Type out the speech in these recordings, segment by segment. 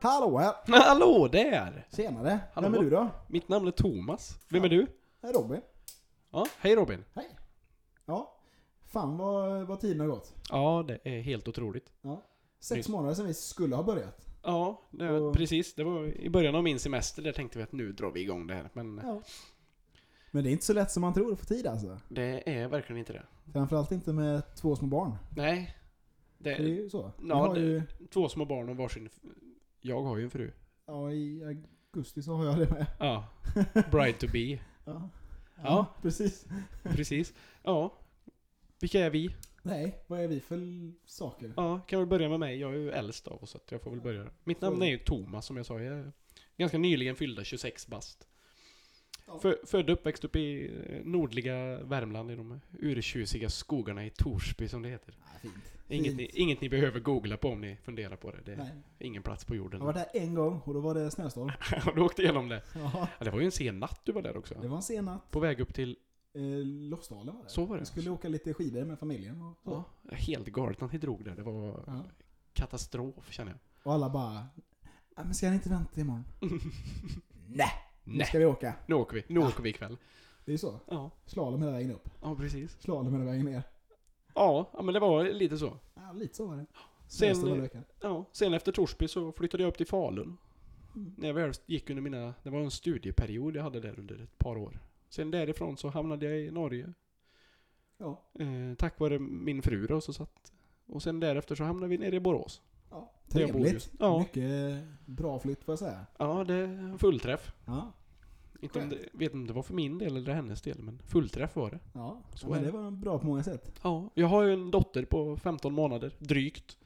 Hallå här! Hallå där! Senare! Hallå. Vem är du då? Mitt namn är Thomas. Vem är du? Det är Robin. Ja, hej Robin. Hej! Ja. Fan vad, vad tiden har gått. Ja, det är helt otroligt. Sex Nyss. månader sedan vi skulle ha börjat. Ja, det, Och- precis. Det var i början av min semester där tänkte vi att nu drar vi igång det här. Men Ja. Men det är inte så lätt som man tror att få tid alltså. det är verkligen inte det. Framförallt inte med två små barn. Nej. Det Det är ju så. Vi Eh, Ja, har det- ju, två små barn och varsin... f- Jag har ju en fru. ja, i augusti så har jag det med. Ja. Bride to be. Ja. Ja, Ja. precis. Precis. Ja. Vilka är vi? Nej, vad är vi för l- saker? Ja, kan väl börja med mig. Jag är ju äldst av oss, så att jag får väl börja. Mitt namn är ju Thomas, som jag sa. Jag är ganska nyligen fyllda 26 bast. Ja. Fö- Född och uppväxt upp i eh, nordliga Värmland, i de urtjusiga skogarna i Torsby, som det heter. Nej, fint. Inget Fint. ni, inget ni behöver googla på om ni funderar på det. Det är Nej. ingen plats på Jag jorden. har varit där en gång och då var det snöstorm. du åkte igenom det. Ja. Ja, det var ju en sen natt du var där också. Det var en sen natt. På väg upp till... Eh, Lofsdalen var det. Så var det. Vi skulle åka lite skidor med familjen och så. Ja, helt galet att ni drog där. Det var Ja. katastrof, känner jag. Och alla bara... "Ja, Men ska ni inte vänta imorgon? Nej! Nu Nej. ska vi åka. Nu åker vi. Nu åker vi ikväll. Det är så. Ja, Slalom hela vägen upp. ja precis. Slalom hela vägen ner. Ja, ja, men det var lite så. Ja, lite så var det. Sen, Snöstorm hela veckan. ja, sen efter Torsby så flyttade jag upp till Falun. Mm. När jag väl gick under mina... Det var en studieperiod jag hade där under ett par år. Sen därifrån så hamnade jag i Norge. Ja. Eh, tack vare min fru då, så satt... Och sen därefter så hamnade vi nere i Borås. ja. Där jag bor Trevligt. just- ja. Mycket bra flytt får jag säga. Ja, det är fullträff. Ja. Inte om det, vet inte om det var för min del eller hennes del, men fullträff var det. Ja. Så ja men är det var bra på många sätt. Ja, jag har ju en dotter på 15 månader, drygt.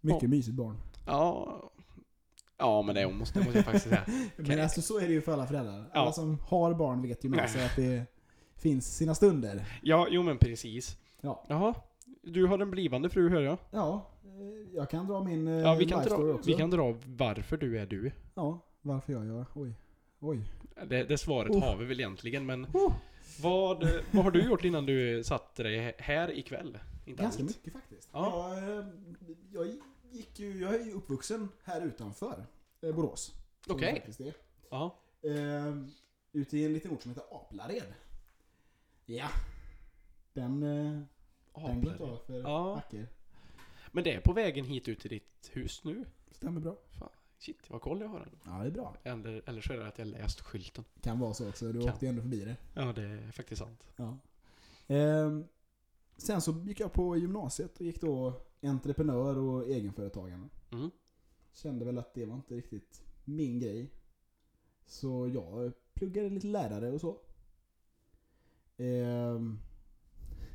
Mycket Ja. mysigt barn. Ja, ja men det är- måste, det måste jag faktiskt säga. Men alltså så är det ju för alla föräldrar. Ja. Alla som har barn vet ju med sig att det finns sina stunder. Ja, jo men precis. Ja. Jaha, du har en blivande fru hör jag. Ja, eh, jag kan dra min eh, Ja, vi kan, life story dra, också. vi kan dra varför du är du. Ja, varför jag gör? Oj. Oj. Det, det svaret Oh. har vi väl egentligen, men Oh, vad, vad har du gjort innan du satte dig här ikväll? Inte ganska allt. mycket faktiskt. Ja. Jag, eh, jag, gick ju, jag är ju uppvuxen här utanför eh, Borås. som Okej. det faktiskt är. Ja. Eh, ute i en liten ort som heter Aplared. Ja. Den, eh, den går inte av för Ja. Acker. Men det är på vägen hit ut till ditt hus nu. Stämmer bra. Shit, vad koll jag har. Ja, det är bra. Eller, eller så är det att jag läst skylten. Kan vara så också. Du Kan. åkte ju ändå förbi det. Ja, det är faktiskt sant. Ja. Ehm, sen så gick jag på gymnasiet och gick då entreprenör och egenföretagare. Mm. Kände väl att det var inte riktigt min grej. Så jag pluggade lite lärare och så. Ehm,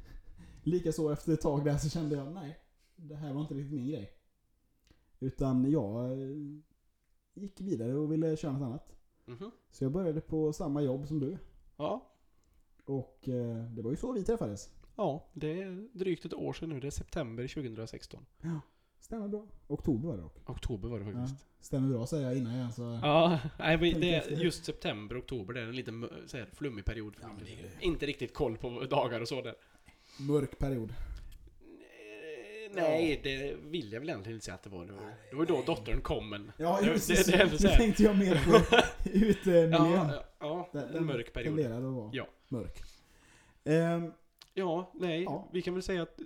Likaså efter ett tag där så kände jag nej, det här var inte riktigt min grej. Utan jag eh, gick vidare och ville köra något annat. Mhm. Så jag började på samma jobb som du. Ja. Och eh, det var ju så vi träffades. ja, det är drygt ett år sedan nu. Det är september 2016. Stämmer bra. Oktober var det dock. Oktober var det Ja, faktiskt. stämmer bra säger jag innan jag ens har... Ja, nej, men Tänk det är efter. just september, oktober. Det är en liten mö- så här, flummig period. för Ja, men mig. det är det. Inte riktigt koll på dagar och så där. Mörk period. Eh, Nej, det vill jag väl egentligen inte säga att det var. Det var, det var ju då Nej. dottern kom, men... Ja, Det- just det- det är väl så Nu här. tänkte jag mer på utemiljön. Ja, ja, ja, Den- en mörk period. tenderar att vara Ja. mörk. Ehm, Ja, nej. Ja. Vi kan väl säga att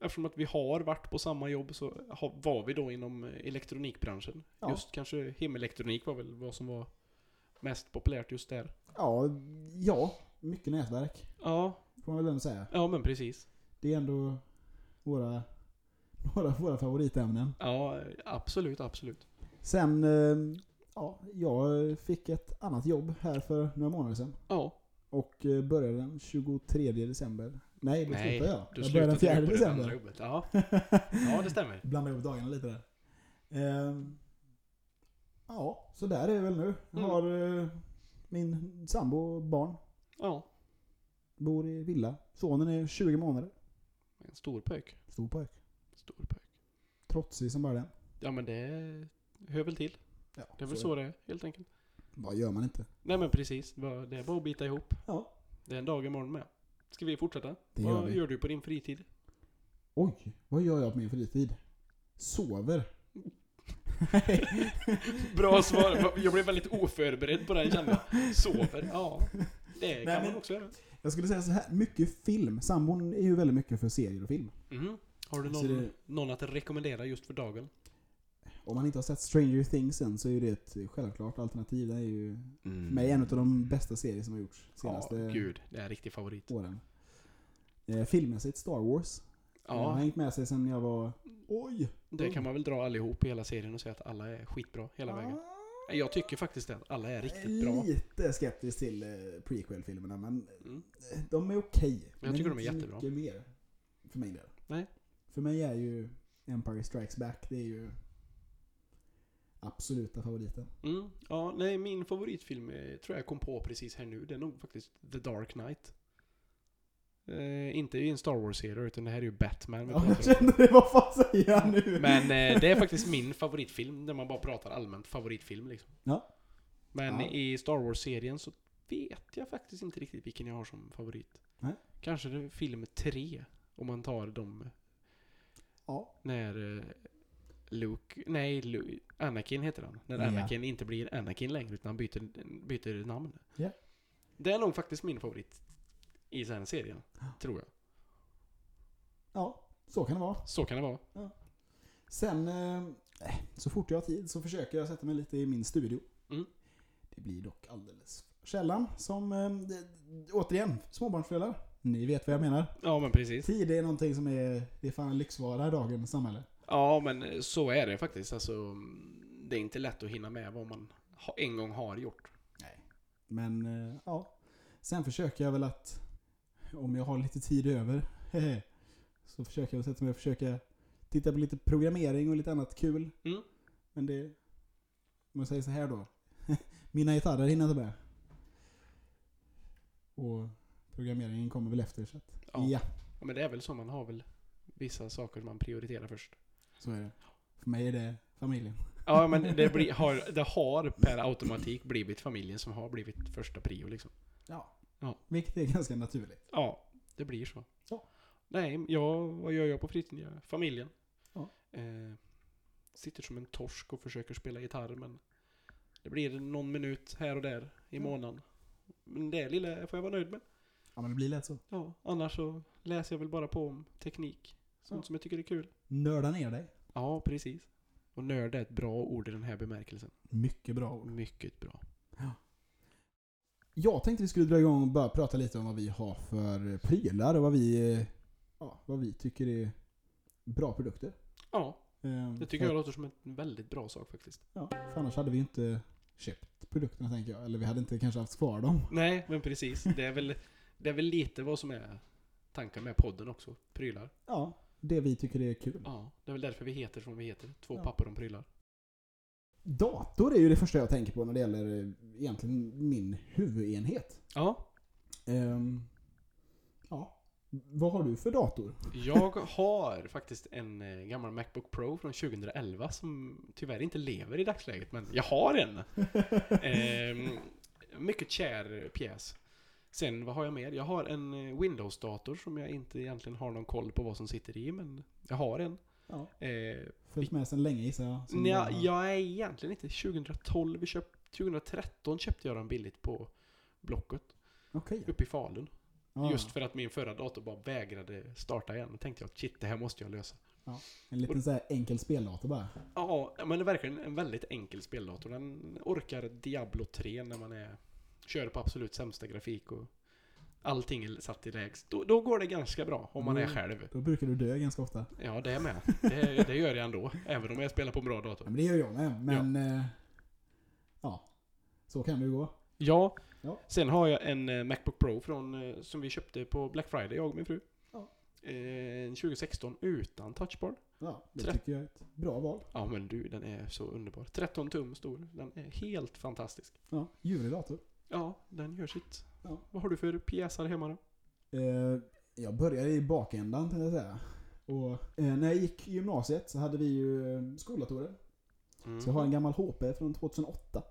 eftersom att vi har varit på samma jobb så har, var vi då inom eh, elektronikbranschen. Ja. Just kanske hemelektronik var väl vad som var mest populärt just där. ja, ja, mycket nätverk. Ja, Får man väl ändå säga. ja men precis. Det är ändå våra, några av våra favoritämnen. Ja, absolut, absolut. Sen, ehm, ja, jag fick ett annat jobb här för några månader sedan. Ja, Och eh, började den 23 december. Nej, då Nej, slutade jag. du jag började den slutade 4 upp på det andra december. jobbet. Ja. ja, det stämmer. Blanda ihop dagarna lite där. Ehm, ja, så där är det väl nu. Jag Mm. har eh, min sambo och barn. Ja, Bor i villa. Sonen är 20 månader. en stor pojk. Stor pojk. Stor pojk. Trotsig som bara den. Ja men det hör väl till. Ja, Det är väl så det är helt enkelt. Vad gör man inte? Nej men precis, det var- det är bara att bita ihop. Ja. Det är en dag imorgon med. Ska vi fortsätta? Det gör Vad vi. gör du på din fritid? Oj, vad gör jag på min fritid? Sover. Nej. Bra svar. Jag blev väldigt oförberedd på den kände jag. Sover? Ja. Det kan men- man också göra. Jag skulle säga så här, mycket film. Sambon är ju väldigt mycket för serier och film. Mhm. Har du Så någon, det- någon att rekommendera just för dagen? Om man inte har sett Stranger Things än så är ju det ett självklart alternativ. Det är ju för mig en av de bästa serier som har gjorts senaste Mm. Ja, gud. Det är en riktig favorit. åren. Eh, filmmässigt Star Wars. Jag har Ja, hängt med sig sedan jag var... Oj! det kan man väl dra allihop i hela serien och säga att alla är skitbra hela vägen. Ah. Jag tycker faktiskt det, att alla är riktigt bra. Lite skeptisk till eh, prequel-filmerna, men Mm. eh, de är okej. Men tycker de inte är så jättebra. mycket mer. För min del. Nej. För mig är ju Empire Strikes Back, det är ju absoluta favoriten. Mm. Ja, nej, min favoritfilm eh, tror jag kom på precis här nu. Det är nog faktiskt The Dark Knight. Eh, inte i en Star Wars-serie, utan det här är ju Batman vi Ja, jag pratar om. kände det, vad fan säger jag nu? Men eh, det är faktiskt min favoritfilm, där man bara pratar allmänt favoritfilm liksom. Ja. Men Ja. i Star Wars-serien så vet jag faktiskt inte riktigt vilken jag har som favorit. Nej. Kanske det är film 3, om man tar de... Ja. När eh, Luke... Nej, Lu- Anakin heter han. När Ja. Anakin inte blir Anakin längre, utan han byter, byter namn. Ja. Det är nog faktiskt min favorit i den serien, tror jag. ja, så kan det vara. Så kan det vara. Sen, eh, så fort jag har tid så försöker jag sätta mig lite i min studio. Mm. Det blir dock alldeles för sällan som, eh, det- återigen, småbarnsföräldrar. Ni vet vad jag menar. Ja, men precis. Tid är någonting som är, det är fan en lyxvara i dagens samhälle. Ja, men eh, så är det faktiskt. Alltså, det är inte lätt att hinna med vad man ha- en gång har gjort. Men eh, ja, sen försöker jag väl att om jag har lite tid över så försöker jag sätta mig och försöka titta på lite programmering och lite annat kul. Mm. Men det, om jag säger så här då. Mina gitarrer hinner inte med. Och programmeringen kommer väl efter så att, Ja. ja. Ja, men det är väl så. Man har väl vissa saker man prioriterar först. så är det. För mig är det familjen. Ja, men det, blir, har, det har per automatik blivit familjen som har blivit första prio liksom. Ja. Ja. Vilket är ganska naturligt. Ja, det blir så. Ja. Nej, jag, vad gör jag på fritiden? Jag- Familjen. Ja. Eh, sitter som en torsk och försöker spela gitarr, men det blir någon minut här och där i Ja. månaden. Men det lilla får jag vara nöjd med. Ja men det blir lätt så. Ja, annars så läser jag väl bara på om teknik. Sånt Ja. som jag tycker är kul. Nörda ner dig. Ja, precis. Och nörd är ett bra ord i den här bemärkelsen. Mycket bra ord. Mycket bra. Jag tänkte vi skulle dra igång och bara prata lite om vad vi har för prylar och vad vi, eh, ja, vad vi tycker är bra produkter. Ja, Eh, det tycker för, jag låter som en väldigt bra sak faktiskt. Ja, för annars hade vi ju inte köpt produkterna tänker jag. Eller vi hade inte kanske haft kvar dem. Nej, men precis. Det är väl, det är väl lite vad som är tanken med podden också. Prylar. Ja, det vi tycker är kul. Ja, det är väl därför vi heter som vi heter. Två Ja. papper om prylar. Dator är ju det första jag tänker på när det gäller eh, egentligen min huvudenhet. Ja. Ehm, ja, vad har du för dator? Jag har faktiskt en eh, gammal Macbook Pro från 2011 som tyvärr inte lever i dagsläget, men jag har en. Ehm, mycket kär pjäs. Sen, vad har jag mer? Jag har en eh, Windows-dator som jag inte egentligen har någon koll på vad som sitter i, men jag har en. Ja, Eh, följt med sedan länge gissar jag. som nja, bara- jag är egentligen inte... 2012, vi köpt, 2013 köpte jag den billigt på Blocket Okej. uppe i Falun. Ja, Just för att min förra dator bara vägrade starta igen. Då tänkte jag, shit, det här måste jag lösa. En liten så här enkel speldator bara. Ja, men det är verkligen en väldigt enkel speldator. Den orkar Diablo 3 när man är, kör på absolut sämsta grafik och allting är satt i lägst. Då, då går det ganska bra om man är Mm. själv. Då brukar du dö ganska ofta. Ja, det är med. Det, det gör jag ändå. Även om jag spelar på en bra Ja, dator. men det gör jag med. Men ja, ja så kan det ju gå. Ja. Ja. Sen har jag en eh, Macbook Pro från, eh, som vi köpte på Black Friday, jag och min fru. Ja. Eh, en 2016 utan touchbar. Ja, det Trä- tycker jag är ett bra val. Ja men du, den är så underbar. 13 tum stor. Den är helt fantastisk. Ja, ljuvlig dator. Ja, den gör sitt. Ja. Vad har du för pjäsar hemma då? Eh, jag börjar i bakändan tänkte jag säga. Och, eh, när jag gick i gymnasiet så hade vi ju eh, skoldatorer. Mm. Så jag har en gammal HP från 2008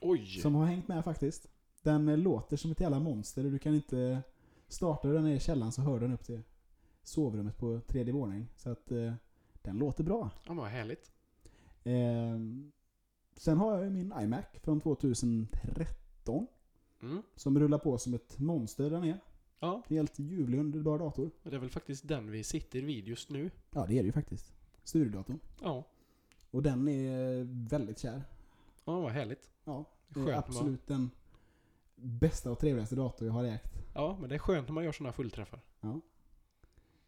Oj! som har hängt med faktiskt. Den eh, låter som ett jävla monster och du kan inte... Startar du den i källaren så hör den upp till sovrummet på tredje våning. Så att eh, den låter bra. Ja, men vad härligt. Eh, sen har jag ju min iMac från 2013 Mm. som rullar på som ett monster där nere. Ja, Helt ljuvlig underbar dator. det är väl faktiskt den vi sitter vid just nu. Ja, det är det ju faktiskt. Studiodatorn. Ja, Och den är väldigt kär. ja vad härligt. Ja, det är Skönt, va? absolut den bästa och trevligaste dator jag har ägt. Ja, men det är skönt när man gör sådana fullträffar.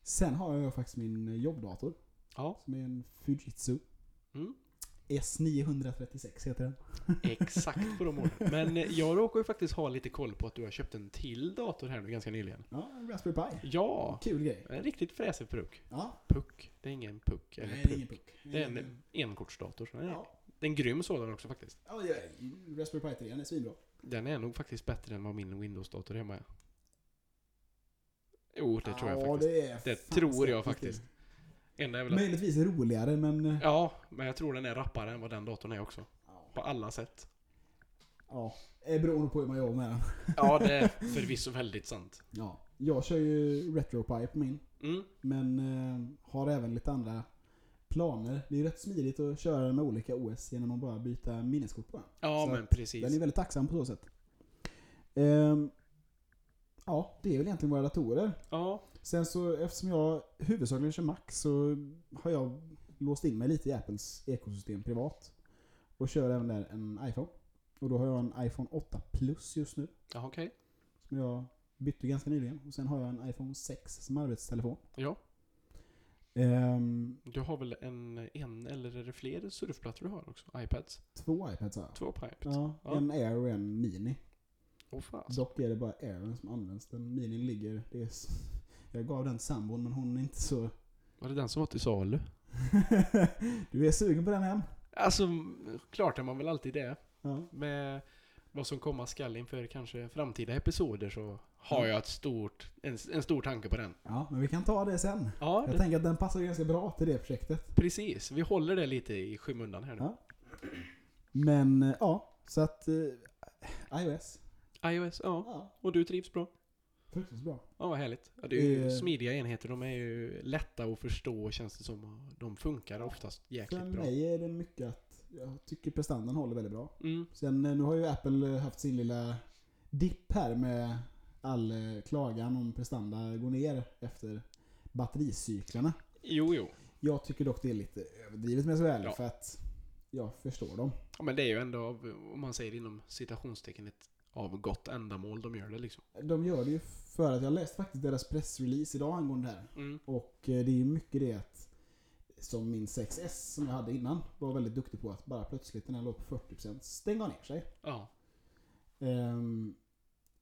Sen har jag faktiskt min jobbdator Ja. som är en Fujitsu. Mm. S936 heter den. Exakt på de åren. Men eh, jag råkar ju faktiskt ha lite koll på att du har köpt en till dator här nu ganska nyligen. Ja, en Raspberry Pi. Ja! Kul grej. En riktigt fräsig puck. Ja. Puck. Det är ingen puck. Eller Nej, puck. det är ingen puck. Det är en enkortsdator. Den är, Ja, det är en grym sådan också faktiskt. ja det är- Raspberry Pi 3 den är svinbra. Den är nog faktiskt bättre än vad min Windows-dator hemma är. Jo, det tror jag ja, faktiskt. Det, är Det fan tror jag säkert kul. faktiskt. Enda är väl att, Möjligtvis roligare men... eh, Ja, men jag tror den är rappare än vad den datorn är också. På alla sätt. Ja, det beror nog på hur man jobbar med den. Ja, det är förvisso väldigt sant. Ja. Jag kör ju RetroPie på min. Mm. Men eh, har även lite andra planer. Det är ju rätt smidigt att köra med olika OS genom att bara byta minneskort på den. Ja, Så men att precis. Den är väldigt tacksam på så sätt. Ehm, ja, det är väl egentligen våra datorer. Ja, Sen så, eftersom jag huvudsakligen kör Mac så har jag låst in mig lite i Apples ekosystem privat. Och kör även där en iPhone. Och då har jag en iPhone 8 Plus just nu. ja okej. Som jag bytte ganska nyligen. Och sen har jag en iPhone 6 som arbetstelefon. Ja. Ehm, Du har väl en, en eller är det fler surfplattor du har också? iPads? två iPads har jag. Två på iPads? Ja, en Air och en Mini. Åh fan. Dock är det bara Airen som används. Den Minin ligger... Det är, s- jag gav den sambon men hon är inte så... Var det den som var till salu? du är sugen på den hem? Alltså, klart är man väl alltid det. Ja. Med vad som komma skall inför kanske framtida episoder så har Mm. jag ett stort, en, en stor tanke på den. ja, men vi kan ta det sen. Ja, Jag det, tänker att den passar ganska bra till det projektet. precis. Vi håller det lite i skymundan här nu. Ja. Men eh, ja, så att... Eh, iOS. iOS, ja. Ja, Och du trivs bra? fruktansvärt bra. Ja, vad härligt. Ja, det är ju Eh. smidiga enheter. De är ju lätta att förstå känns det som. och De funkar oftast För jäkligt bra. mig är det mycket att jag tycker prestandan håller väldigt bra. Mm. Sen eh, nu har ju Apple eh, haft sin lilla dipp här med all eh, klagan om prestanda går ner efter battericyklarna. Jo, jo. Jag tycker dock det är lite överdrivet med SHL Ja. för att jag förstår dem. Ja, men det är ju ändå, av, om man säger inom citationstecken, ett av gott ändamål de gör det liksom. De gör det ju för att jag läste faktiskt deras pressrelease idag angående det här. Mm. Och eh, det är ju mycket det att som min 6S som jag hade innan var väldigt duktig på att bara plötsligt när den låg på 40% stänga ner sig. Ja. Ehm,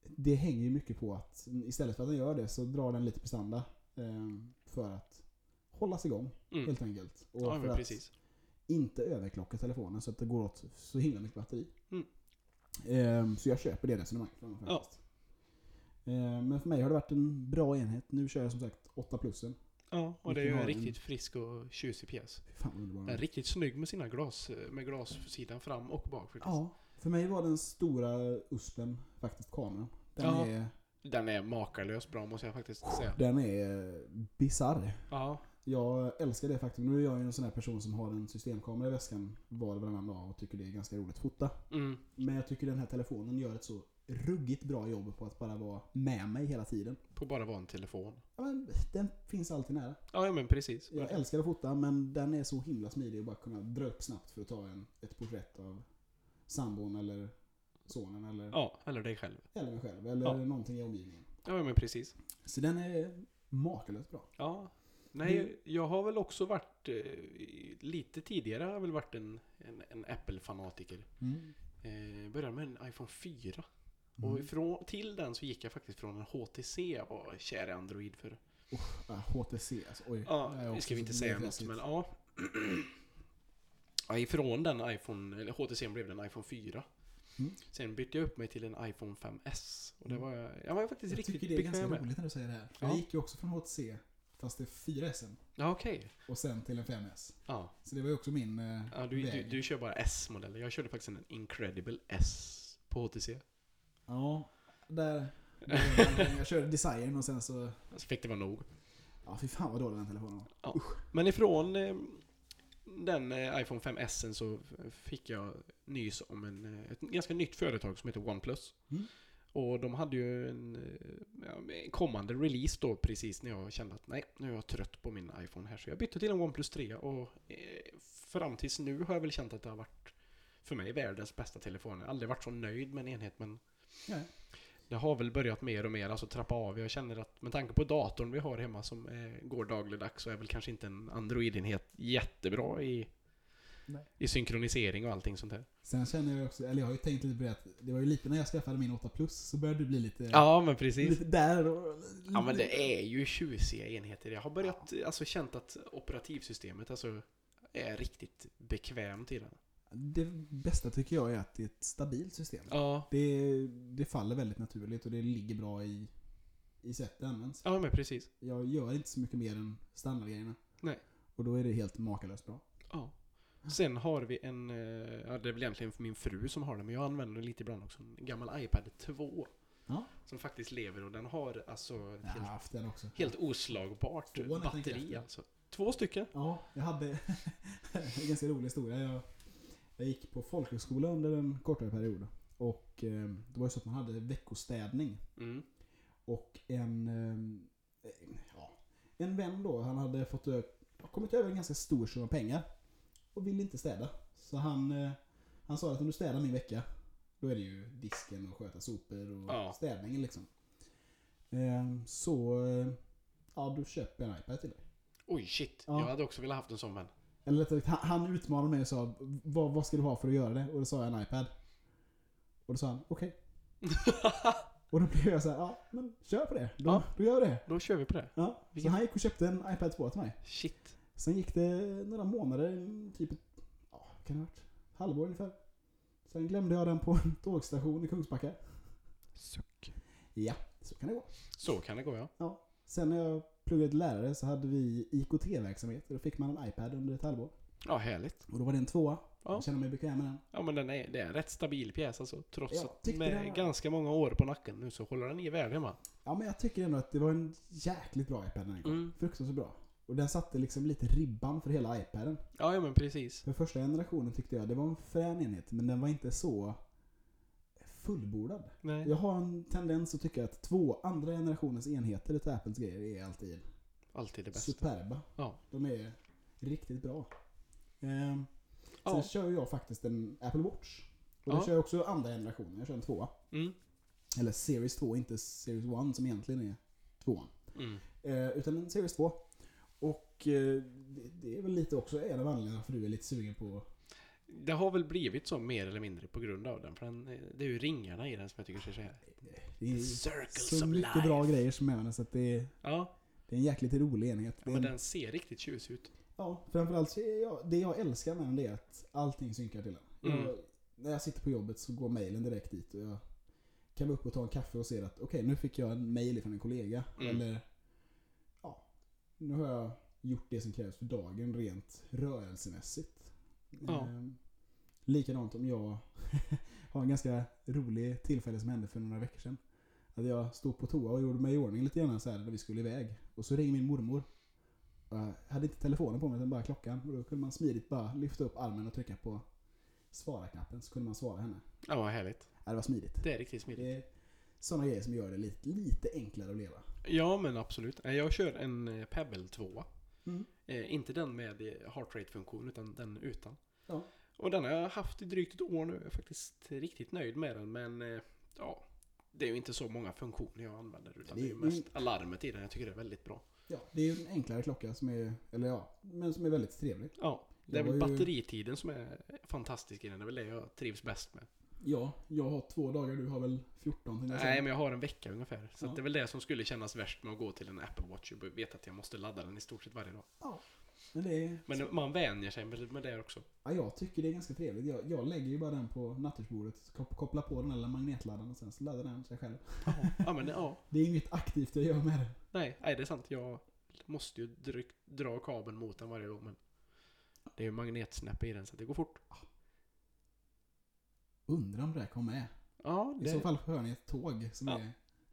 det hänger ju mycket på att istället för att den gör det så drar den lite prestanda. ehm, för att hållas igång Mm. helt enkelt. Och Ja, för men att precis. inte överklocka telefonen så att det går åt så himla mycket batteri. Mm. Ehm, så jag köper det resonemanget från dem Ja. faktiskt. Ehm, men för mig har det varit en bra enhet. Nu kör jag som sagt 8 plusen. Ja, och det är Vi ju kan ha en en- riktigt frisk och tjusig pjäs. Fy fan vad underbar Den den är är. riktigt snygg med sina glas, med glassidan fram och bak faktiskt. Ja, för mig var den stora uspen faktiskt kameran. Den Ja. är, Den är makalöst bra måste jag faktiskt säga. den är bisarr. Ja, Jag älskar det faktum. Nu är jag ju en sån här person som har en systemkamera i väskan var och varannan dag och tycker det är ganska roligt att fota. mm. Men jag tycker den här telefonen gör ett så ruggigt bra jobb på att bara vara med mig hela tiden. På bara vara en telefon. Ja, men den finns alltid nära. Ja, ja, men precis. Jag älskar att fota men den är så himla smidig att bara kunna dra upp snabbt för att ta en, ett porträtt av sambon eller sonen eller, Ja, eller dig själv. eller mig själv eller Ja. någonting i omgivningen. Ja, ja, men precis. Så den är makalöst bra. Ja. Nej, jag har väl också varit, eh, lite tidigare har jag väl varit en, en, en Apple-fanatiker. Eh, började med en iPhone 4. Och Mm. ifrån, till den så gick jag faktiskt från en HTC jag var kär i Android för. Ja, HTC alltså. Oj. Ja, Det är nu också ska vi inte så säga något fräsigt. men ja. ja. Ifrån den iPhone, eller HTC blev det en iPhone 4. Mm. Sen bytte jag upp mig till en iPhone 5S. Och det Mm. var jag, jag var faktiskt Jag riktigt tycker det är ganska bekväm med. roligt när du säger det här. För Jag Ja. gick ju också från HTC fast till 4S Ja, okej. och sen till en 5S. Ja. Så det var ju också min eh, Ja, du, du, väg. du kör bara S-modeller. Jag körde faktiskt en Incredible S på HTC. Ja, där. där- jag körde design och sen så... Så fick det vara nog. Ja, fy fan vad dålig den telefonen var. Men ifrån eh, den eh, iPhone 5S -en så fick jag nys om en, eh, ett ganska nytt företag som heter OnePlus. Mm. Och de hade ju en eh, ja, en kommande release då precis när jag kände att nej, nu är jag trött på min iPhone här. Så jag bytte till en OnePlus 3 och eh, fram tills nu har jag väl känt att det har varit för mig världens bästa telefon. Jag har aldrig varit så nöjd med en enhet men Nej. Det har väl börjat mer och mer, alltså trappa av. Jag känner att med tanke på datorn vi har hemma som eh, går dagligdags så är väl kanske inte en Android-enhet jättebra i, Nej. i synkronisering och allting sånt där. Sen känner jag också, eller jag har ju tänkt lite på det att det var ju lite när jag skaffade min 8 Plus så började du bli lite... Ja, men precis. Lite där och... Ja, men det är ju tjusiga enheter. Jag har börjat, alltså känt att operativsystemet alltså är riktigt bekvämt i den. Det bästa tycker jag är att det är ett stabilt system. Ja, Det, det faller väldigt naturligt och det ligger bra i, i sättet det används. ja men precis. Jag gör inte så mycket mer än standardgrejerna. Nej. Och då är det helt makalöst bra. Ja. Sen har vi en, eh, ja det är väl egentligen för min fru som har den, men jag använder den lite ibland också. En gammal iPad 2. Ja. Som faktiskt lever och den har alltså ett Jag har helt, haft den också. helt oslagbart Två, när jag tänker batteri efter. alltså. Två stycken? Ja, jag hade en ganska rolig historia. Jag, jag gick på folkhögskola under en kortare period. Och eh, det var ju så att man hade veckostädning. Mm. Och en, eh, ja, en vän då, han hade fått ö- kommit över en ganska stor summa pengar. Och ville inte städa. Så han, eh, han sa att om du städar min vecka, då är det ju disken och sköta sopor och Ja. städningen liksom. Eh, så, eh, ja du köper jag en iPad till dig. Oj shit, Ja. jag hade också velat haft en sån men. Eller rättare sagt, han- han utmanade mig och sa vad, vad ska du ha för att göra det? Och då sa jag en iPad. Och då sa han okej. och då blev jag så här, ja men kör på det. Då, Ja. då gör vi det. Då kör vi på det. Ja, så Vilket- han gick och köpte en iPad 2 till mig. Shit. Sen gick det några månader, typ ett ja, vad kan det ha varit, halvår ungefär. Sen glömde jag den på en tågstation i Kungsbacka. Suck. Ja, så kan det gå. Så kan det gå ja. Sen när jag pluggade till lärare så hade vi IKT-verksamhet och då fick man en iPad under ett halvår. Ja, härligt. Och då var det en tvåa. Ja. Jag kände mig bekväm med den. Ja men den är, det är en rätt stabil pjäs alltså. Trots Ja, att tyckte med det var- ganska många år på nacken nu så håller den i värde hemma. Ja, men jag tycker ändå att det var en jäkligt bra iPad den här gången. Mm. Fruktansvärt bra. Och den satte liksom lite ribban för hela iPaden. Ja, ja men precis. För första generationen tyckte jag det var en frän enhet, men den var inte så fullbordad. Nej. Jag har en tendens att tycka att två andra generationens enheter utav Apples grejer är alltid Alltid det bästa. superba. Ja. De är riktigt bra. Ehm, sen Ja. kör jag faktiskt en Apple Watch. Och då Ja. kör jag också andra generationen. Jag kör en tvåa. Mm. Eller Series 2, inte Series 1 som egentligen är tvåan. Mm. Eh, utan en Series 2. Och eh, det, det är väl lite också en av anledningarna för du är lite sugen på... Det har väl blivit så mer eller mindre på grund av den. För den, eh, det är ju ringarna i den som jag tycker ser så här. Det är Circles så of mycket life. bra grejer som är med den, så att det, är- Ja, det är en jäkligt rolig enhet. Ja, Det är men en- den ser riktigt tjusig ut. Ja, framförallt så är jag, det jag älskar med den det är att allting synkar till den. Mm. Jag, när jag sitter på jobbet så går mejlen direkt dit och jag kan vara uppe och ta en kaffe och ser att okej, nu fick jag en mejl från en kollega. Mm. Eller ja, nu har jag gjort det som krävs för dagen rent rörelsemässigt. Ja. Ehm, likadant om jag har en ganska rolig tillfälle som hände för några veckor sedan. Att jag stod på toa och gjorde mig i ordning lite grann så här när vi skulle iväg. Och så ringer min mormor. Och Jag hade inte telefonen på mig utan bara klockan. Och då kunde man smidigt bara lyfta upp armen och trycka på svara-knappen så kunde man svara henne. Ja, vad härligt. Ja, det var smidigt. Det är riktigt smidigt. Det är sådana grejer som gör det lite, lite enklare att leva. Ja, men absolut. Eh, Jag kör en eh, Pebble 2. Mm. Eh, inte den med eh, heart rate funktion utan den utan. Ja. Och den har jag haft i drygt ett år nu. Jag är faktiskt riktigt nöjd med den, men eh, ja. Det är ju inte så många funktioner jag använder utan Det det är är ju ju- mest alarmet i den. Jag tycker det är väldigt bra. Ja, det är ju en enklare klocka som är, eller ja, men som är väldigt trevlig. Ja, det är Jag väl var ju- batteritiden som är fantastisk i den. Det är väl det jag trivs bäst med. Ja, jag har två dagar, du har väl 14? tänkte jag säga. Nej, men jag har en vecka ungefär. Så Ja. att det är väl det som skulle kännas värst med att gå till en Apple Watch och veta att jag måste ladda den i stort sett varje dag. Ja, men det är... Men man vänjer sig med med det också. Ja, jag tycker det är ganska trevligt. Jag, jag lägger ju bara den på nattduksbordet, kop- kopplar på den eller magnetladdaren och sen så laddar den sig själv. Ja, men ja. Det är inget aktivt jag gör med den. Nej, nej, det är sant. Jag Måste ju dryck, dra kabeln mot den varje gång men det är ju magnetsnäppe i den så att det går fort. Undrar om det här kom med. Ja, I det så är fall hör ni ett tåg som Ja. är...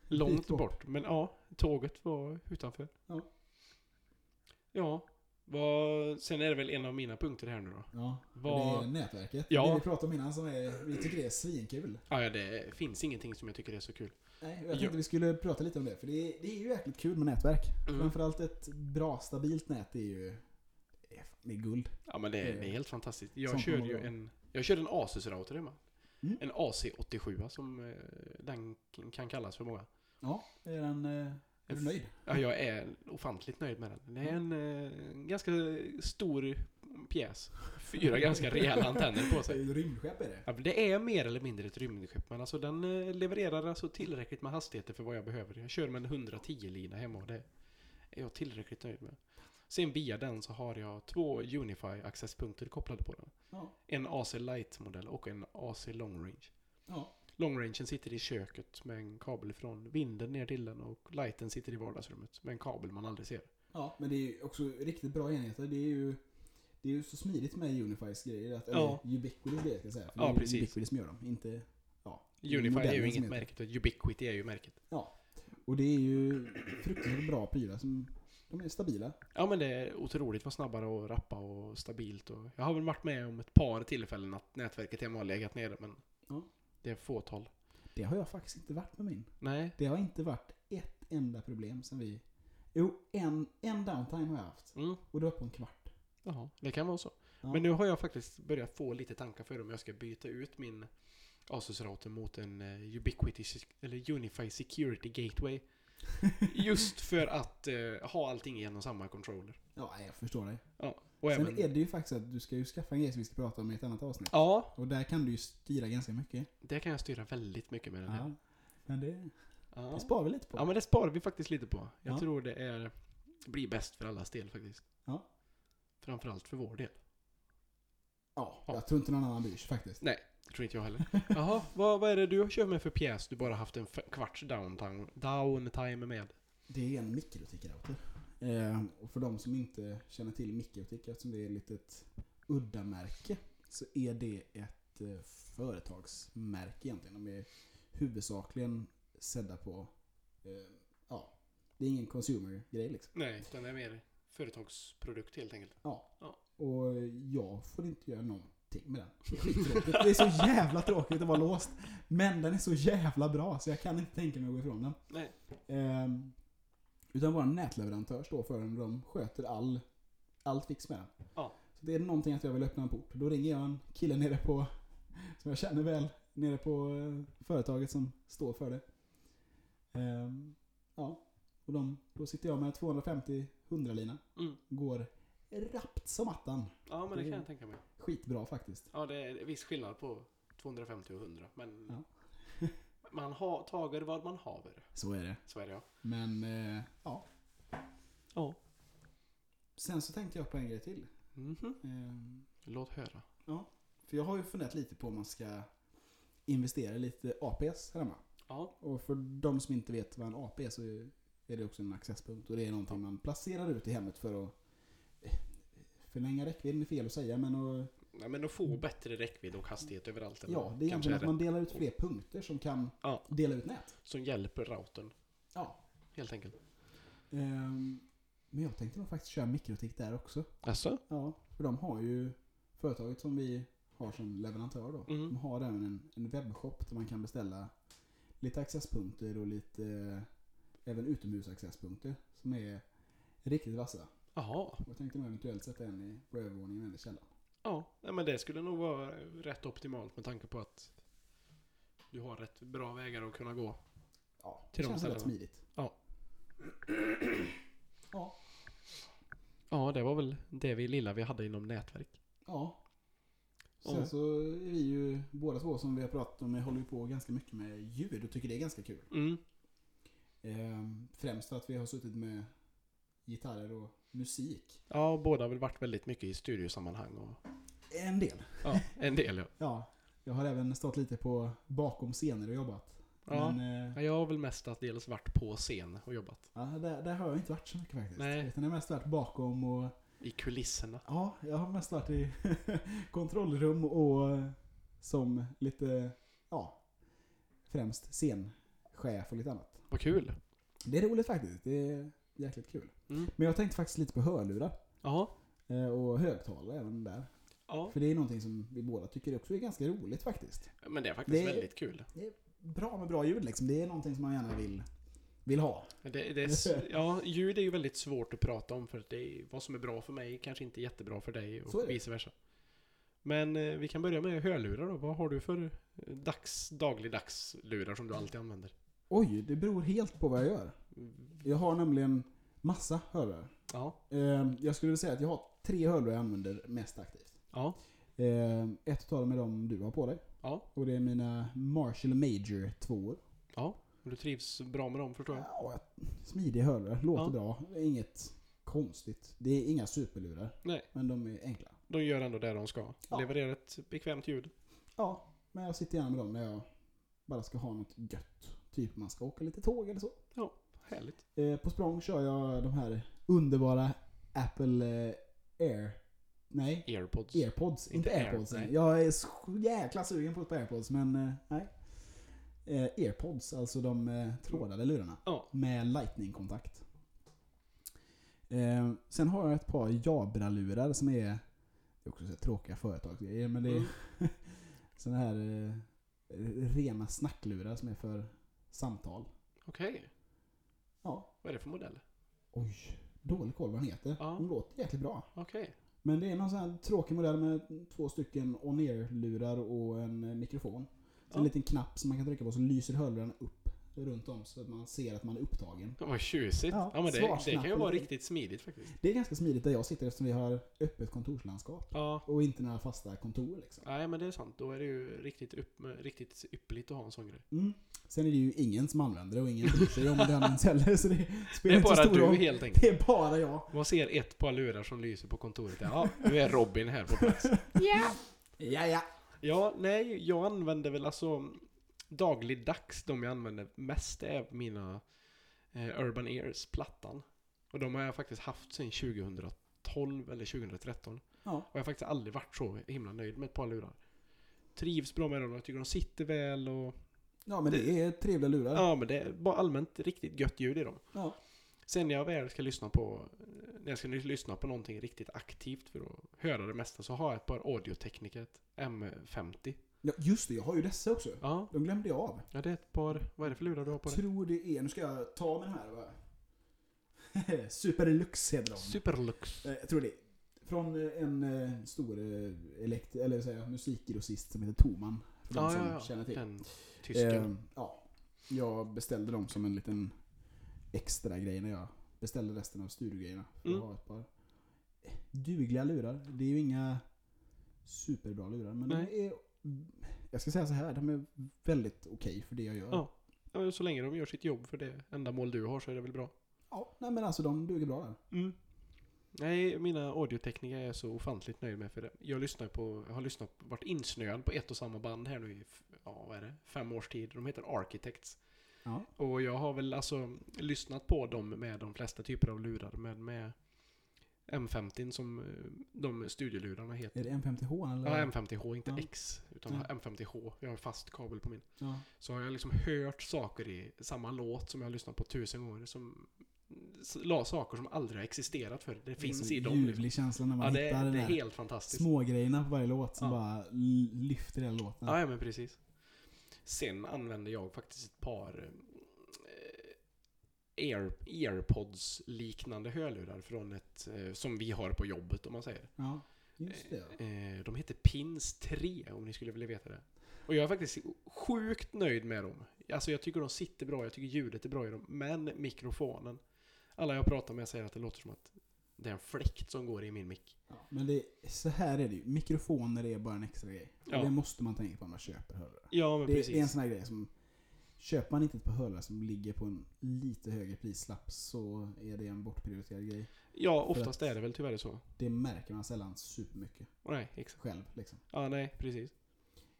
långt dit bort. bort. Men ja, tåget var utanför. Ja. Ja. Vad, sen är det väl en av mina punkter här nu då. Ja, Vad- det är nätverket. Ja. Det vi pratade om innan som är, vi tycker det är svinkul. Ja, ja, det finns ingenting som jag tycker är så kul. Nej, jag Ja. tänkte vi skulle prata lite om det, för det är, det är ju jäkligt kul med nätverk. Mm. Framförallt ett bra, stabilt nät är ju... Det är, fan- det är guld. Ja men det, är- Det- det är helt fantastiskt. Jag sånt körde man ju vill ha. en, jag körde en Asus-router hemma. Mm. En AC87 som eh, den k- kan kallas för många. Ja, är, den, eh, är du nöjd? Ja, jag är ofantligt nöjd med den. Det är en eh, ganska stor pjäs. Fyra ganska rejäla antenner på sig. Ett rymdskepp är det. Ja, men det är mer eller mindre ett rymdskepp men alltså den eh, levererar alltså tillräckligt med hastigheter för vad jag behöver. Jag kör med en 110-lina hemma och det är jag tillräckligt nöjd med. Sen via den så har jag två Unify-accesspunkter kopplade på den. Ja. En AC Light-modell och en AC Long Range. ja. Long Rangen sitter i köket med en kabel från vinden ner till den och lighten sitter i vardagsrummet med en kabel man aldrig ser. Ja, men det är ju också riktigt bra enheter. Det är ju, det är ju så smidigt med Unifys grejer. Att, eller Ja. Ubiquitys grejer ska jag säga. För Ja, det är ju precis. Ubiquity som gör dem. Inte, ja, Unify är modellen ju som inget heter. märke, utan Ubiquity är ju märket. Och det är ju fruktansvärt bra prylar som... De är stabila. Ja men det är otroligt vad snabbare och rappa och stabilt och jag har väl varit med om ett par tillfällen att nätverket hemma har legat nere men Ja. det är fåtal. Det har jag faktiskt inte varit med min. Nej, Det har inte varit ett enda problem sen vi... Jo, en, en downtime har jag haft. mm. Och det var på en kvart. Jaha, det kan vara så. Ja. Men nu har jag faktiskt börjat få lite tankar för om jag ska byta ut min Asus-router mot en eh, Ubiquity Se- eller Unify Security Gateway. Just för att eh, ha allting genom samma controller. Ja, jag förstår dig. Och Sen även, är det ju faktiskt att du ska ju skaffa en grej som vi ska prata om i ett annat avsnitt. Ja, Och där kan du ju styra ganska mycket. det kan jag styra väldigt mycket med den här. Ja. Men det, Ja, det sparar vi lite på. ja men det sparar vi faktiskt lite på. Jag Ja. tror det är, blir bäst för allas del faktiskt. Ja. Framförallt för vår del. Ja, jag tror inte någon annan bryr sig faktiskt. Det tror inte jag heller. Jaha, vad, vad är det du kör med för pjäs du bara haft en f- kvarts downtime, downtime med? Det är en mikrotik-router. Eh, och för de som inte känner till mikrotik, eftersom det är ett litet udda märke, så är det ett eh, företagsmärke egentligen. De är huvudsakligen sedda på, eh, ja, det är ingen consumer-grej liksom. Nej, utan det är mer företagsprodukt helt enkelt. Ja. Ja. Och jag får inte göra någonting med den. Det är skittråkigt. Det är så jävla tråkigt att vara låst. Men den är så jävla bra så jag kan inte tänka mig att gå ifrån den. Nej. Ehm, utan vår nätleverantör står för den och de sköter all, allt fix med den. Ja. Så det är någonting att jag vill öppna en port. Då ringer jag en kille nere på, som jag känner väl, nere på eh, företaget som står för det. Ehm, ja, och de, då sitter jag med 250-100 lina. Mm. Går rappt som attan. Ja, men det kan Det- jag tänka mig. Skitbra faktiskt. Ja, det är viss skillnad på 250 och 100, men... Ja. man har, tager vad man haver, Så är det. så är det ja. Men eh, ja. Ja. Sen så tänkte jag på en grej till. Mhm. Ehm, Låt höra. För jag har ju funderat lite på om man ska investera i lite APS här hemma. Ja. Och för de som inte vet vad en AP är så är det också en accesspunkt. Och det är någonting man placerar ut i hemmet för att eh, förlänga räckvidden är fel att säga men att, Nej, men att få bättre räckvidd och hastighet överallt. eller ja, det är kanske egentligen att det man delar ut fler punkter som kan Ja. dela ut nät. Som hjälper routern, Ja. helt enkelt. Ehm, Men jag tänkte nog faktiskt köra mikrotik där också. Alltså? Ja, för de har ju företaget som vi har som leverantör då. Mm. De har även en, en webbshop där man kan beställa lite accesspunkter och lite eh, även utomhusaccesspunkter som är riktigt vassa. Jaha. Och jag tänkte nog eventuellt sätta en i på övervåningen eller i källaren. Ja, nej, men det skulle nog vara rätt optimalt med tanke på att du har rätt bra vägar att kunna gå. Ja, Till det de känns rätt ställena. smidigt. Ja. ja, Ja, det var väl det vi lilla vi hade inom nätverk. ja. Sen Ja. så är vi ju båda två som vi har pratat om, vi håller ju på ganska mycket med ljud och tycker det är ganska kul. Mm. Ehm, Främst för att vi har suttit med gitarrer och musik. Ja, båda har väl varit väldigt mycket i studiosammanhang och En del. ja, en del ja. Ja, jag har även stått lite på bakom scener och jobbat. Ja. Men, eh, Ja, Jag har väl mestadels varit på scen och jobbat. Ja, där, där har jag inte varit så mycket faktiskt. Nej. Utan jag har mest varit bakom och... I kulisserna. Ja, jag har mest varit i kontrollrum och eh, som lite, ja, främst scenchef och lite annat. Vad kul. Det är roligt faktiskt. Det är jäkligt kul. Mm. Men jag tänkte faktiskt lite på hörlurar Ja. eh, och högtalare även där. ja. För det är någonting som vi båda tycker också är ganska roligt faktiskt. Men det är faktiskt Det- väldigt kul. Bra med bra ljud liksom. Det är någonting som man gärna vill, vill ha. Det, det är, s- ja, ljud är ju väldigt svårt att prata om för att det är, vad som är bra för mig kanske inte är jättebra för dig Så är och det. vice versa. Men eh, vi kan börja med hörlurar då. Vad har du för eh, dags, dagligdags lurar som du alltid använder? Oj, det beror helt på vad jag gör. Jag har nämligen massa hörlurar. Ja. Eh, Jag skulle vilja säga att jag har tre hörlurar jag använder mest aktivt. Ja. Eh, Ett av dem är de du har på dig. Ja. Och det är mina Marshall Major 2 Du trivs bra med dem förstår jag. ja, Smidiga hörlurar, låter Ja. bra. Det är Inget konstigt. Det är inga superlurar. Nej. Men de är enkla. De gör ändå det de ska. Ja. Levererar ett bekvämt ljud. Ja, men jag sitter gärna med dem när jag bara ska ha något gött. Typ man ska åka lite tåg eller så. Härligt. Eh, På språng kör jag de här underbara Apple eh, Air... Nej, Airpods. Airpods, inte, Inte Air, Airpods. nej. jag är så jäkla sugen på ett par Airpods, men eh, nej. Eh, Airpods, alltså de eh, trådade lurarna. Ja. Med lightning-kontakt. Eh, sen har jag ett par Jabra-lurar som är, det är också så här tråkiga företagsgrejer, men det är Mm. sådana här eh, rena snacklurar som är för samtal. Okej. Ja, Vad är det för modell? oj. Dålig koll vad den heter. Ja. De låter jäkligt bra. Okej. Men det är någon sån här tråkig modell med två stycken on-ear-lurar och en eh, mikrofon. Så Ja. en liten knapp som man kan trycka på så lyser hörlurarna upp runt om så att man ser att man är upptagen. Vad tjusigt. Ja, Ja, men det, det svarsnapp kan ju och vara lite- riktigt smidigt faktiskt. Det är ganska smidigt där jag sitter eftersom vi har öppet kontorslandskap. Ja. Och inte några fasta kontor liksom. Nej men det är sant. Då är det ju riktigt, upp, riktigt yppligt att ha en sån grej. Mm. Sen är det ju ingen som använder det och ingen bryr sig om det används heller. Så det Det spelar är inte så bara stor du roll. helt enkelt. Det är bara jag. Man ser ett par lurar som lyser på kontoret. Ja, nu är Robin här på plats. Ja, ja. Ja, nej, jag använder väl alltså dagligdags de jag använder mest är mina eh, Urban Ears, plattan. Och de har jag faktiskt haft sedan 2012 eller 2013. Ja. Och jag har faktiskt aldrig varit så himla nöjd med ett par lurar. Trivs bra med dem, jag tycker de sitter väl och... Ja, men det är trevliga lurar. Ja, men det är bara allmänt riktigt gött ljud i dem. Ja. Sen när jag väl ska lyssna på, när jag ska lyssna på någonting riktigt aktivt för att höra det mesta så har jag ett par Audio-Technica, ett M50. Ja, just det. Jag har ju dessa också. Ja, De glömde jag av. ja, det är ett par, vad är det för lurar du har på dig? tror det är, nu ska jag ta med den här va? Super Deluxe heter de. Superlux. Eh, jag tror det. är. Från eh, en eh, stor eh, elekt- eller säga, musikgrossist som heter Toman. För de Ja, som ja, ja. känner till. Den tysken. Eh, ja. Jag beställde dem som en liten extra grej när jag beställde resten av studiogrejerna. För Mm. att ha ett par eh, dugliga lurar. Det är ju inga superbra lurar, men de Nej. är... Jag ska säga så här, de är väldigt okej för det jag gör. Ja. Ja, men så länge de gör sitt jobb för det ändamål du har så är det väl bra. Ja, nej men alltså de duger bra där. Mm. Nej, mina audiotekniker är jag så ofantligt nöjd med för det. Jag lyssnar på, jag har lyssnat, varit insnöad på ett och samma band här nu i, f- ja vad är det, fem års tid. De heter Architects. Ja. Och jag har väl alltså lyssnat på dem med de flesta typer av lurar, men med M50 som eh, de studiolurarna heter. Är det M50H eller? Ja, M50H, inte Ja. Mm. X, utan Ja. M50H. Jag har fast kabel på min. Ja. Så har jag liksom hört saker i samma låt som jag har lyssnat på tusen gånger. Som s- la saker som aldrig har existerat förr. Det finns Det är i en dem. Liksom. Ljuvlig känsla när man Ja, det, hittar den det är där helt fantastiskt. smågrejerna på varje låt som Ja. bara l- lyfter hela låten. Ja, ja, men precis. Sen använder jag faktiskt ett par eh, Air, airpods-liknande hörlurar från ett, eh, som vi har på jobbet om man säger. Ja, just det. Eh, de heter Pins 3 om ni skulle vilja veta det. Och jag är faktiskt sjukt nöjd med dem. Alltså jag tycker de sitter bra, jag tycker ljudet är bra i dem. Men mikrofonen. Alla jag pratar med säger att det låter som att det är en fläkt som går i min mick. Ja, men det, så här är det ju. Mikrofoner är bara en extra grej. Och Ja. Det måste man tänka på när man köper hörlurar. Ja men Det, precis. det är en sån här grej som... Köper man inte ett par hörlurar som ligger på en lite högre prislapp så är det en bortprioriterad grej. Ja för oftast att- är det väl tyvärr så. Det märker man sällan supermycket Och nej, exakt. själv. Liksom. Ja nej, precis.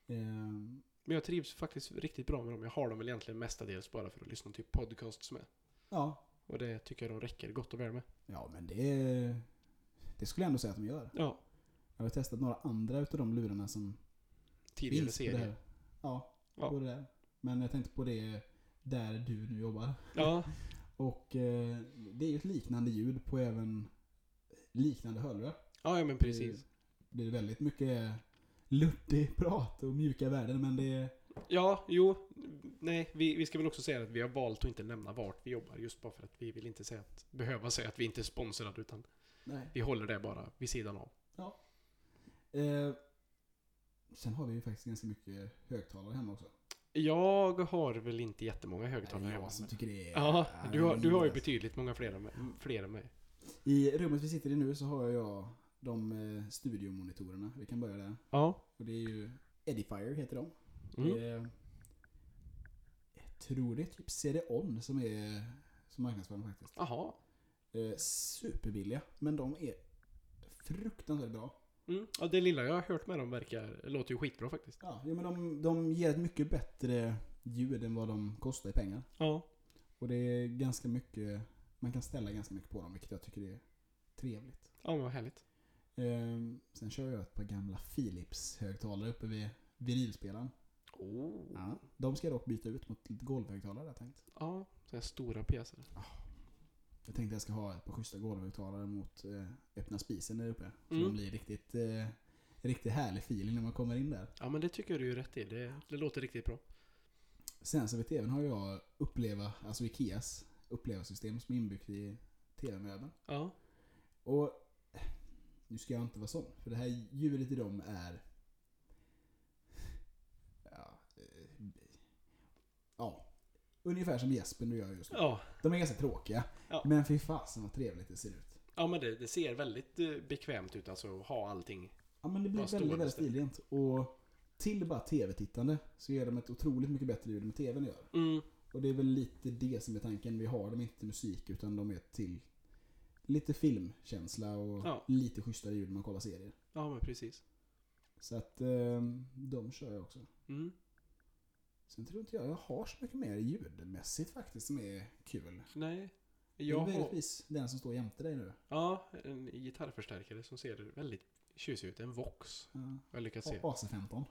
Ehm, Men jag trivs faktiskt riktigt bra med dem. Jag har dem väl egentligen mestadels bara för att lyssna till podcasts med. Ja. Och det tycker jag de räcker gott och väl med. Ja, men det... Det skulle jag ändå säga att de gör. Ja, Jag har testat några andra utav de lurarna som tidigare finns på det serier. här. Ja, Ja. på det där. Men jag tänkte på det där du nu jobbar. Ja, Och eh, det är ju ett liknande ljud på även liknande hörlurar. ja, ja men precis. Det är väldigt mycket luttig prat och mjuka värden men det är... Ja, jo. Nej, vi, vi ska väl också säga att vi har valt att inte nämna vart vi jobbar. Just bara för att vi vill inte säga att, behöva säga att vi inte är sponsrade. Utan Nej. vi håller det bara vid sidan av. Eh, sen har vi ju faktiskt ganska mycket högtalare hemma också. Jag har väl inte jättemånga högtalare Nej, hemma. jag som tycker det är... Ja, Ja, du har, du har ju det- betydligt många fler än mig. Fler än mig. I rummet vi sitter i nu så har jag de eh, studiomonitorerna. Vi kan börja där. Ja. Och det är ju Edifier heter de. Mm. Eh, jag tror det är typ CD-ON som är som marknadsför dem faktiskt. Jaha. Eh, superbilliga, men de är fruktansvärt bra. Mm. Ja, det lilla jag har hört med dem verkar, låter ju skitbra faktiskt. Ja, ja, men de, de ger ett mycket bättre ljud än vad de kostar i pengar. Ja. Och det är ganska mycket, man kan ställa ganska mycket på dem, vilket jag tycker är trevligt. Ja, men vad härligt. Eh, sen kör jag ett par gamla Philips-högtalare uppe vid vinylspelaren. Oh. Ja. De ska jag dock byta ut mot lite golvhögtalare har jag tänkt. Ja, sådana här stora pjäser. Jag tänkte jag ska ha ett par schyssta golvhögtalare mot eh, öppna spisen där uppe. Så Mm. de blir riktigt, eh, riktigt härlig feeling när man kommer in där. Ja, men det tycker jag du är rätt i. Det, det låter riktigt bra. Sen så vid tvn har jag uppleva, alltså Ikeas upplevelsesystem som är inbyggt i tv-möbeln. Ja. Och eh, nu ska jag inte vara sån, för det här ljudet i dem är... Ja, eh, ja ungefär som Jesper nu gör just nu. Ja. De är ganska tråkiga, Ja. men fy fasen vad trevligt det ser ut. Ja, men det, det ser väldigt eh, bekvämt ut alltså att ha allting. Ja men det blir Bara väldigt, stående väldigt ställ. stilrent. Och till bara tv-tittande så ger de ett otroligt mycket bättre ljud än vad tvn gör. Mm. Och det är väl lite det som är tanken. Vi har dem inte till musik utan de är till lite filmkänsla och Ja. lite schysstare ljud när man kollar serier. Ja, men precis. Så att eh, de kör jag också. Mm. Sen tror inte jag jag har så mycket mer ljudmässigt faktiskt som är kul. Nej. Det Jag är har, möjligtvis den som står jämte dig nu. ja, en gitarrförstärkare som ser väldigt tjusig ut. En Vox. Ja. Jag har lyckats se. AC-15.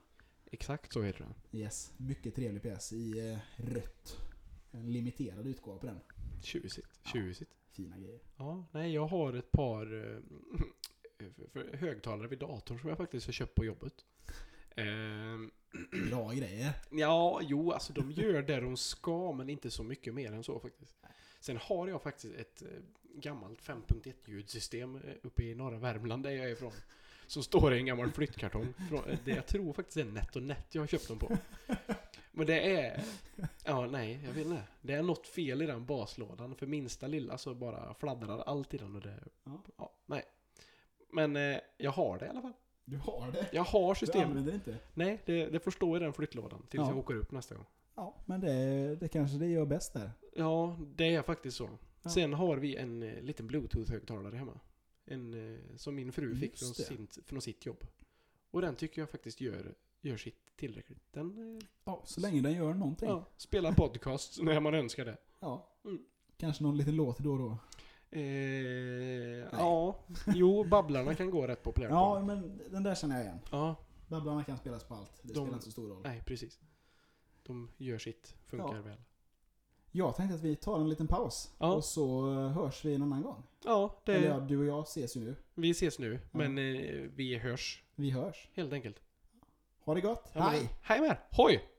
Exakt så heter den. Yes, mycket trevlig pjäs i eh, rött. En limiterad utgåva på den. Tjusigt. Ja. Tjusigt. Fina grejer. Ja, nej, jag har ett par eh, för- för högtalare vid datorn som jag faktiskt har köpt på jobbet. Ehm, Bra grejer. ja, jo, alltså de gör det de ska, men inte så mycket mer än så faktiskt. Sen har jag faktiskt ett eh, gammalt 5.1 ljudsystem eh, uppe i norra Värmland där jag är ifrån. Som står i en gammal flyttkartong. Från, eh, det jag tror faktiskt är NetOnNet jag har köpt dem på. Men det är... Ja, nej, jag vet inte. Det är något fel i den baslådan. För minsta lilla så bara fladdrar allt i den och det... Ja. Ja, nej. Men eh, jag har det i alla fall. Du har det. Jag har Du systemet. använder det inte. Nej, det, det får stå i den flyttlådan tills Ja. jag åker upp nästa gång. Ja, men det, det kanske det gör bäst där. Ja, det är faktiskt så. Ja. Sen har vi en eh, liten bluetooth-högtalare hemma. En, eh, som min fru fick Just från, det. sin, från sitt jobb. Och den tycker jag faktiskt gör, gör sitt tillräckligt. Den eh, Ja, så länge den gör någonting. Ja. ja, spelar podcast när man önskar det. Mm. Kanske någon liten låt då och då. Eh, ja, jo, Babblarna kan gå rätt populärt. Ja, på. men den där känner jag igen. ja, Babblarna kan spelas på allt. Det De- spelar inte så stor roll. nej precis. De gör sitt, funkar Ja. väl. Jag tänkte att vi tar en liten paus. Ja. Och så eh, hörs vi en annan gång. Ja, Eller det, ja, du och jag ses ju nu. vi ses nu, men eh, vi hörs Vi hörs. helt enkelt. Ha det gott. Ja, men- Hej! Hej med er! Hoj!